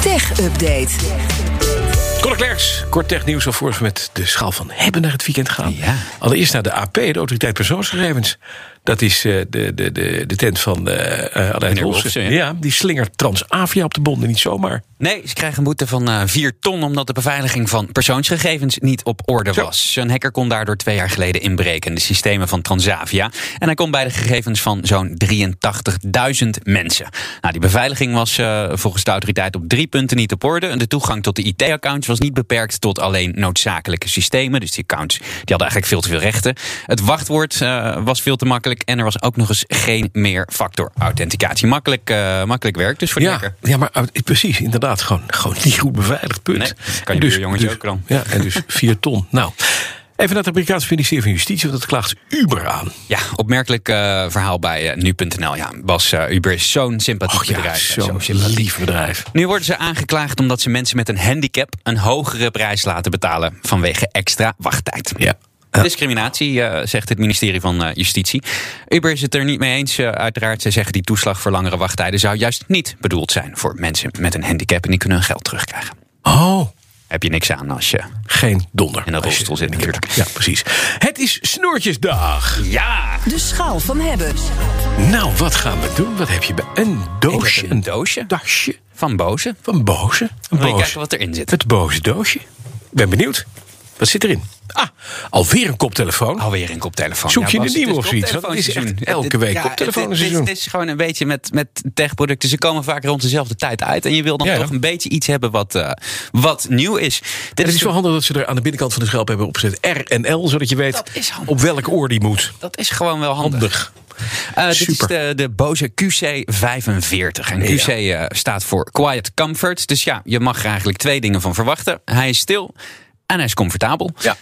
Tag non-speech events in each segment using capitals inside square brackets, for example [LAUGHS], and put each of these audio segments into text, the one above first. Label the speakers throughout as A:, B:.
A: Tech Update.
B: Conor Klerks, kort technieuws alvorens we met de schaal van hebben naar het weekend gaan. Allereerst naar de AP, de Autoriteit Persoonsgegevens. Dat is eh, de, de, de, de tent van eh eh, Aleid
C: Wolfsen,
B: Wolfsen.
C: ja.
B: Ja, die slingert Transavia op de bonden, niet zomaar.
C: Nee, ze krijgen een boete van eh 4 ton omdat de beveiliging van persoonsgegevens niet op orde
B: Zo.
C: was. Zo'n hacker kon daardoor twee jaar geleden inbreken in de systemen van Transavia. En hij kon bij de gegevens van zo'n 83.000 mensen. Nou, die beveiliging was eh, volgens de autoriteit op drie punten niet op orde. En De toegang tot de IT-accounts was niet beperkt tot alleen noodzakelijke systemen. Dus die accounts die hadden eigenlijk veel te veel rechten. Het wachtwoord eh, was veel te makkelijk. En er was ook nog eens geen meer factor authenticatie. Makkelijk, eh, makkelijk werk dus voor de
B: Ja,
C: hacker.
B: ja, maar eh, precies, inderdaad. Gewoon, gewoon niet goed beveiligd, punt.
C: Nee, kan je buurjongens ook dan.
B: Ja, en
C: [LAUGHS]
B: dus vier ton. Nou, even naar het Amerikaanse ministerie van Justitie, want dat klaagt Uber aan.
C: Ja, opmerkelijk eh, verhaal bij eh, nu.nl. Ja, Bas, eh, Uber is zo'n sympathiek
B: Och Oh ja,
C: bedrijf.
B: zo'n lief bedrijf.
C: Nu worden ze aangeklaagd omdat ze mensen met een handicap een hogere prijs laten betalen vanwege extra wachttijd.
B: Ja.
C: Discriminatie, eh, zegt het ministerie van eh, Justitie. Uber is het er niet mee eens, eh, uiteraard. Ze zeggen die toeslag voor langere wachttijden zou juist niet bedoeld zijn voor mensen met een handicap. En die kunnen hun geld terugkrijgen.
B: Oh,
C: Heb je niks aan als je.
B: geen donder.
C: In een
B: Als je-
C: rolstoel zit natuurlijk.
B: Ja, precies. Het is snoertjesdag.
C: Ja!
A: De schaal van hebben.
B: Nou, wat gaan we doen? Wat heb je bij een doosje?
C: een doosje.
B: tasje
C: Van boze.
B: van boze. Een
C: Wil je
B: boze.
C: kijken wat erin zit?
B: Het boze doosje. Ik ben benieuwd. Wat zit erin? Ah, alweer een koptelefoon.
C: Alweer een koptelefoon.
B: Zoek je
C: Bas,
B: een
C: het
B: nieuwe
C: is
B: of zoiets, want het is
C: koptelefoonseizoen.
B: echt elke week
C: Ja,
B: koptelefoonseizoen.
C: Het, het, is gewoon een beetje met, met techproducten. Ze komen vaak rond dezelfde tijd uit. En je wil dan
B: Ja, ja.
C: toch een beetje iets hebben wat, eh, wat nieuw is. Dit
B: het is
C: de-
B: wel handig dat ze er aan de binnenkant van de schelp hebben opgezet R en L, zodat je
C: Dat is
B: weet
C: handig.
B: op welk oor die moet.
C: dat is gewoon wel handig.
B: Handig.
C: Eh, dit is
B: Super.
C: de, de Bose QC45. En QC eh, staat voor Quiet Comfort. Dus ja, je mag er eigenlijk twee dingen van verwachten. Hij is stil en hij is comfortabel.
B: Ja.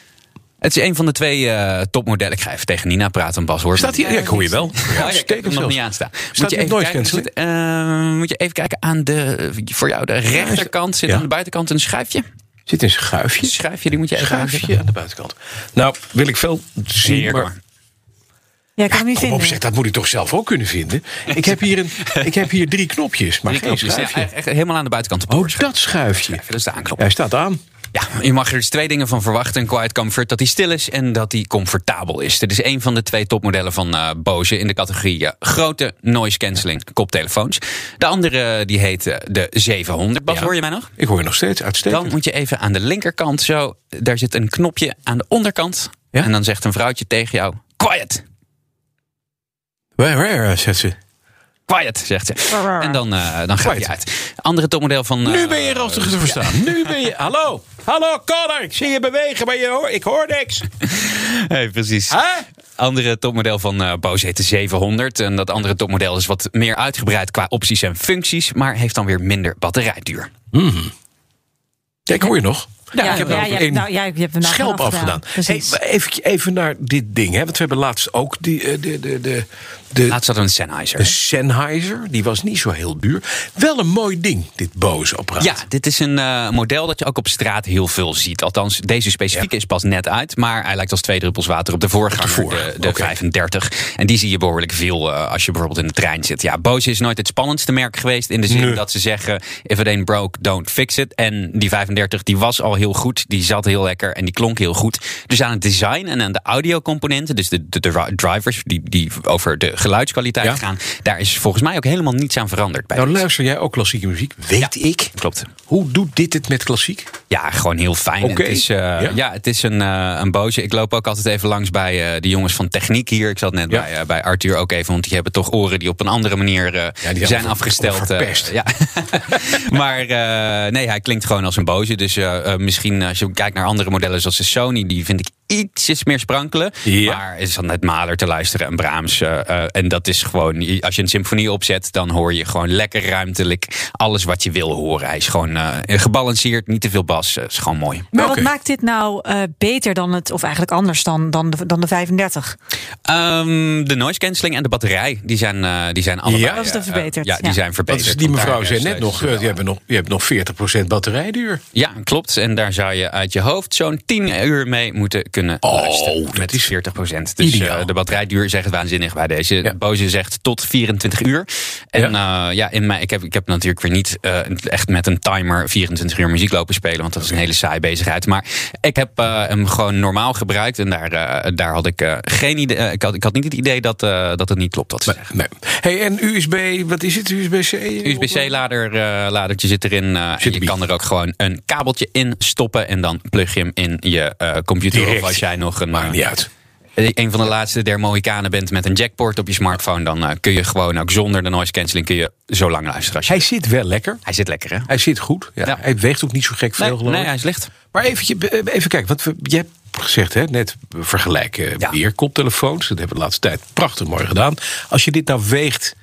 C: Het is een van de twee eh, topmodellen. Ik ga even tegen Nina praten, Bas hoor.
B: Staat hier? Ja, ik hoor je wel.
C: Ja, oh, ja, ik heb hem
B: Uitstekend
C: nog
B: zelfs.
C: niet aanstaan.
B: Staat
C: je
B: met
C: even
B: noise
C: kijken,
B: cancelling?
C: zit, eh, moet je even kijken aan de, voor jou de rechterkant. Zit
B: Ja.
C: aan de buitenkant een schuifje.
B: Zit een schuifje.
C: Een schuifje, die moet je even
B: Schuifje aan de buitenkant. Nou, wil ik veel zien, maar
D: Ja, ik kan hem niet
B: Kom op,
D: vinden.
B: zeg, dat moet ik toch zelf ook kunnen vinden? Ik heb hier, een,
C: [LAUGHS]
B: ik heb hier drie knopjes, maar
C: Drie
B: geen
C: knopjes. Ja,
B: schuifje.
C: echt- echt helemaal aan de buitenkant.
B: Oh, dat schuifje.
C: Dat is de aanknop.
B: Hij staat aan.
C: Ja, je mag er dus twee dingen van verwachten. Een quiet comfort, dat hij stil is en dat hij comfortabel is. Dit is een van de twee topmodellen van eh, Bose in de categorie eh, grote noise cancelling koptelefoons. De andere eh, die heet eh, de 700. Bas,
B: Ja.
C: hoor je mij nog?
B: Ik hoor je nog steeds,
C: Dan
B: uitstekend.
C: moet je even aan de linkerkant zo. Daar zit een knopje aan de onderkant.
B: Ja?
C: En dan zegt een vrouwtje tegen jou: Quiet!
B: Waar, waar, eh, zet ze?
C: Quiet, zegt ze. En dan, eh dan gaat hij
B: Quiet.
C: uit. Andere topmodel van. eh,
B: Nu ben je rustig te verstaan. Nu ben je... Hallo, hallo, Connor. Ik zie je bewegen, maar je hoor, ik hoor niks.
C: [LAUGHS] Hey, precies.
B: Hè?
C: Andere topmodel van eh Bose heet de 700. En dat andere topmodel is wat meer uitgebreid qua opties en functies. Maar heeft dan weer minder batterijduur.
B: Ja, ik hoor je nog. Ja, ik heb
D: ja,
B: nou
D: ja,
B: één
D: nou, ja, je hebt hem nou
B: schelp
D: gewoon afgedaan.
B: afgedaan. Hey,
D: Precies.
B: maar even, even naar dit ding, hè. Want we hebben laatst ook die, eh, de, de, de, de,
C: Laatst hadden we een
B: de
C: Sennheiser.
B: Sennheiser. Die was niet zo heel duur. Wel een mooi ding, dit boze apparaat.
C: Ja, dit is een eh, model dat je ook op straat heel veel ziet. Althans, deze specifieke is pas net uit. Maar hij lijkt als twee druppels water op de voorganger,
B: Op de
C: de,
B: vorige,
C: de
B: oké.
C: 35. En die zie je behoorlijk veel eh, als je bijvoorbeeld in de trein zit. Ja, Bose is nooit het spannendste merk geweest. In de zin
B: Nee.
C: dat ze zeggen, if it ain't broke, don't fix it. En die 35, die was al heel goed. Die zat heel lekker en die klonk heel goed. Dus aan het design en aan de audiocomponenten, dus de, de, de drivers die, die over de geluidskwaliteit
B: Ja.
C: gaan. Daar is volgens mij ook helemaal niets aan veranderd. Bij
B: Nou
C: deze.
B: luister jij ook klassieke muziek? Weet ik.
C: Klopt.
B: Hoe doet dit het met klassiek?
C: Ja, gewoon heel fijn.
B: Oké.
C: Het is, eh,
B: Ja.
C: ja? het is een, eh, een boze. Ik loop ook altijd even langs bij eh, de jongens van techniek hier. Ik zat net
B: Ja.
C: bij, eh, bij Arthur ook even, want die hebben toch oren die op een andere manier eh,
B: zijn
C: zijn
B: ver-
C: afgesteld. eh,
B: verpest.
C: ja. [LAUGHS] maar eh, nee, hij klinkt gewoon als een boze. Dus eh, eh, misschien als je kijkt naar andere modellen zoals de Sony, die vind ik ietsjes meer sprankelen.
B: Ja.
C: Maar het is dan net Mahler te luisteren en Brahms. eh, eh, en dat is gewoon, als je een symfonie opzet, dan hoor je gewoon lekker ruimtelijk alles wat je wil horen. Hij is gewoon eh, gebalanceerd, niet te veel bas. Het is gewoon mooi.
D: Maar
B: Oké.
D: wat maakt dit nou eh, beter dan het, of eigenlijk anders dan, dan, de, dan de 35?
C: Ehm, de noise cancelling en de batterij, die zijn, eh, die zijn allebei...
B: Ja?
D: Dat is dan
C: eh,
D: verbeterd,
C: ja, die
D: ja.
C: zijn
B: Dat
C: verbeterd.
B: is die
C: Want
B: mevrouw
C: daar
B: zei
C: is-
B: net
C: is-
B: nog, eh, je hebt nog, je hebt nog 40% batterijduur.
C: Ja, klopt. En daar zou je uit je hoofd zo'n 10 uur mee moeten kunnen
B: Oh,
C: luisteren.
B: dat
C: Met
B: is
C: 40 procent. Dus
B: ideaal.
C: eh, de batterijduur zegt waanzinnig bij deze.
B: Ja.
C: Bose zegt tot 24 uur. En ja, ja in mij, ik, heb, ik heb natuurlijk weer niet eh, echt met een timer 24 uur muziek lopen spelen. Want dat is een hele saaie bezigheid. Maar ik heb eh, hem gewoon normaal gebruikt. En daar, eh, daar had ik eh, geen idee. eh, ik, had, ik had niet het idee dat, eh, dat het niet klopt wat ze zeggen.
B: Nee. Hey, en USB, wat is het? USB-C?
C: USB-lader eh, ladertje zit erin. eh, en je
B: erbij.
C: kan er ook gewoon een kabeltje in stoppen. En dan plug je hem in je eh, computer.
B: Direct.
C: Of als jij nog een,
B: Maakt niet
C: eh,
B: uit.
C: een van de laatste der Mohikanen bent met een jackport op je smartphone. Dan eh, kun je gewoon ook zonder de noise cancelling kun je zo lang luisteren. Als je...
B: Hij zit wel lekker.
C: Hij zit lekker hè?
B: Hij zit goed. Ja.
C: Ja.
B: Hij weegt ook niet zo gek veel,
C: Nee,
B: geloof
C: nee,
B: ik.
C: hij is licht.
B: Maar eventje, eh, even kijken, want we- je hebt gezegd hè, net vergelijken
C: Ja.
B: weer koptelefoons. Dat hebben we de laatste tijd prachtig mooi gedaan. Als je dit nou weegt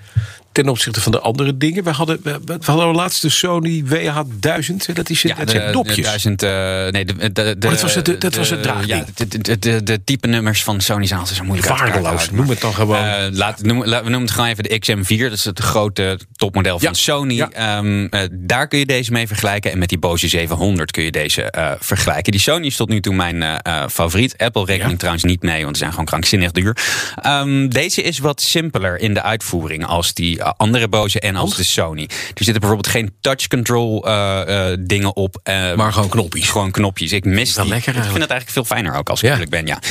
B: ten opzichte van de andere dingen. We hadden, we, we hadden laatst de Sony WH1000. hè, Dat, is, dat zijn
C: de-
B: dopjes.
C: De duizend, eh, nee, de, de, de,
B: dat was het- dat was het
C: de-
B: draagding.
C: Ja, de, de, de, de- de type nummers van Sony zijn altijd zo moeilijk uit elkaar te
B: Waardeloos,
C: houden.
B: noem het dan gewoon.
C: Eh, laat, noem, laat- we noemen het gewoon even de XM4. Dat is het grote topmodel van
B: Ja,
C: Sony.
B: ja.
C: Ehm, eh, daar kun je deze mee vergelijken. En met die Bose 700 kun je deze eh, vergelijken. Die Sony is tot nu toe mijn eh, eh, favoriet. Apple reken
B: Ja.
C: ik trouwens niet mee, want ze zijn gewoon krankzinnig duur. Ehm, deze is wat simpeler in de uitvoering als die eh, andere Bose en als de Sony. Er zitten bijvoorbeeld geen touch control eh, eh, dingen op. eh,
B: maar gewoon knoppies.
C: gewoon knopjes. Ik mis
B: Wel
C: die.
B: lekker
C: ik vind
B: eigenlijk.
C: het eigenlijk veel fijner ook als ik
B: Ja.
C: eerlijk ben. Ja.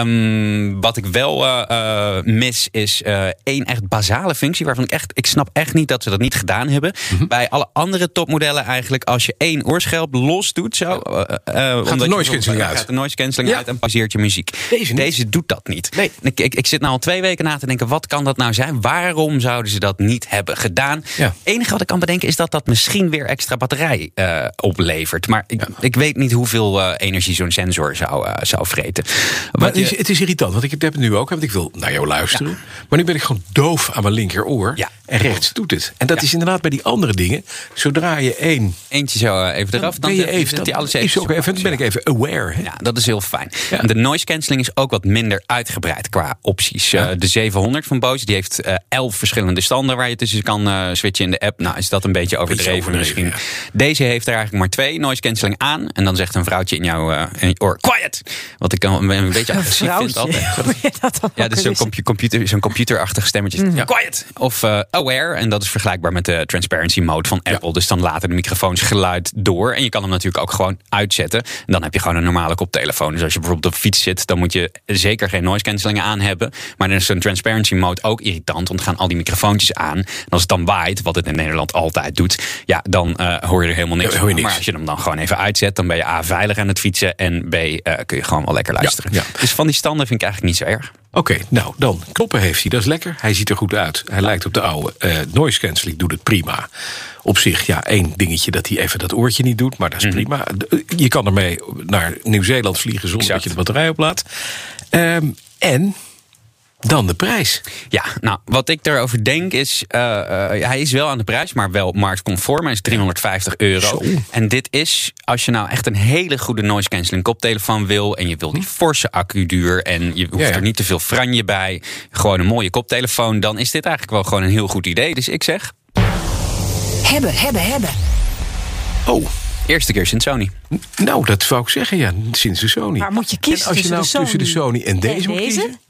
C: Ehm, wat ik wel eh, eh, mis is eh, één echt basale functie waarvan ik echt, ik snap echt niet dat ze dat niet gedaan hebben.
B: Mhm.
C: Bij alle andere topmodellen eigenlijk, als je één oorschelp los doet, zo, eh, eh, omdat
B: noise
C: je bijvoorbeeld-
B: cancelling uit.
C: Gaat de noise cancelling
B: Ja.
C: uit en passeert je muziek.
B: Deze niet.
C: doet dat niet.
B: Nee.
C: En Ik, ik, ik zit nu al twee weken na te denken, wat kan dat nou zijn? Waarom zouden ze dat niet hebben gedaan?
B: Ja.
C: Het enige wat ik kan bedenken is dat dat misschien weer extra batterij eh, oplevert. Maar ik, ik weet niet hoeveel eh, energie zo'n sensor zou, eh, zou vreten.
B: Maar
C: Wat
B: het, is,
C: je-
B: het is irritant, want ik heb het nu ook. Want ik wil naar jou luisteren. Maar nu ben ik gewoon doof aan mijn linkeroor.
C: Ja.
B: En rechts doet het. En dat
C: Ja.
B: is inderdaad bij die andere dingen. Zodra je één...
C: eentje zo eh, even eraf, dan,
B: ben je
C: zet-
B: even,
C: zet hij
B: dan
C: alles even
B: is ook
C: op
B: even,
C: pauze.
B: dan ben ik even aware. Hè?
C: [LAUGHS] Ja, dat is heel fijn.
B: Ja.
C: De noise cancelling is ook wat minder uitgebreid qua opties. Eh, de 700 van Bose die heeft eh, 11 verschillende standen waar je tussen kan eh, switchen in de app. Nou, is dat een beetje overdreven,
B: overdreven,
C: misschien. Deze heeft er eigenlijk maar twee noise cancelling aan. En dan zegt een vrouwtje in jouw eh, in je oor: Quiet! Wat ik een, een beetje agressief vind
D: Vrouwtje. [LAUGHS]
C: altijd.
D: Hoe je dat
C: Ja,
D: dan
C: dat is
D: ook weer
C: zo'n
B: dus-
C: compu- computer, zo'n computerachtig stemmetje.
B: Mhm.
C: Quiet! Of eh, aware. En dat is vergelijkbaar met de transparency mode van Apple. Dus dan laten de microfoons geluid door. En je kan hem natuurlijk ook gewoon uitzetten. En dan heb je gewoon een normale koptelefoon. Dus als je bijvoorbeeld op de fiets zit, dan moet je zeker geen noise cancelling aan hebben. Maar dan is zo'n transparency mode ook irritant. Want dan gaan al die microfoontjes aan. En als het dan waait, wat het in Nederland altijd doet. Ja, dan eh, hoor je er helemaal niks
B: Ja, hoor je
C: van.
B: niks.
C: Maar als je hem dan gewoon even uitzet, dan ben je A, veilig aan het fietsen. En B, eh, kun je gewoon wel lekker luisteren.
B: ja.
C: Dus van die standen vind ik eigenlijk niet zo erg.
B: Oké, nou dan. Knoppen heeft hij, dat is lekker. Hij ziet er goed uit. Hij lijkt op de oude. Eh, noise cancelling doet het prima. Op zich, ja, één dingetje dat hij even dat oortje niet doet, maar dat is
C: Mhm.
B: prima. De- eh, Je kan ermee naar Nieuw-Zeeland vliegen zonder
C: Exact.
B: dat je de batterij oplaat. Ehm, en dan de prijs.
C: Ja, nou, wat ik daarover denk is... eh, eh, hij is wel aan de prijs, maar wel marktconform. Hij is 350 euro.
B: Zo.
C: En dit is, als je nou echt een hele goede noise cancelling koptelefoon wil... en je wil die forse accuduur en je hoeft
B: Hm. Ja, ja.
C: er niet te veel franje bij... gewoon een mooie koptelefoon, dan is dit eigenlijk wel gewoon een heel goed idee. Dus ik zeg,
A: Hebben, hebben, hebben.
B: Oh,
C: eerste keer sinds Sony.
B: nou, dat zou ik zeggen, ja, sinds de Sony.
D: Maar moet je kiezen
B: en als je
D: tussen
B: nou tussen
D: de
B: de
D: Sony
B: Sony en deze
D: en
B: moet
D: deze?
B: kiezen?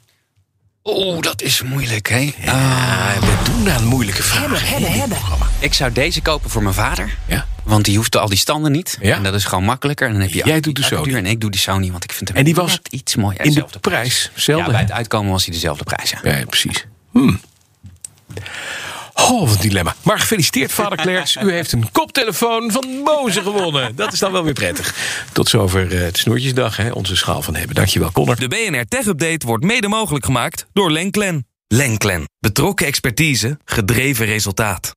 C: Oeh, dat is moeilijk, hè?
B: Ah, we doen nou een moeilijke
A: Hebben,
B: vraag.
A: hebben, hebben.
C: Ik zou deze kopen voor mijn vader.
B: Ja.
C: Want die hoeft al die standen niet.
B: Ja.
C: En dat is gewoon makkelijker. En dan heb je
B: Jij doet de
C: accuduur
B: Sony.
C: En ik doe die Sony, want ik vind hem
B: En die was
C: net iets mooier.
B: In de
C: Zelfde
B: prijs, zelden.
C: Ja, bij het uitkomen was hij dezelfde prijs. Ja.
B: Ja, ja, precies. Hmm. Oh, wat een dilemma. Maar gefeliciteerd, vader Klerks. U heeft een koptelefoon van Boze gewonnen. Dat is dan wel weer prettig. Tot zover eh, het Snoertjesdag, hè, onze schaal van hebben. Dankjewel, Connor.
E: De BNR Tech Update wordt mede mogelijk gemaakt door Lenklen. Lenklen. Betrokken expertise, gedreven resultaat.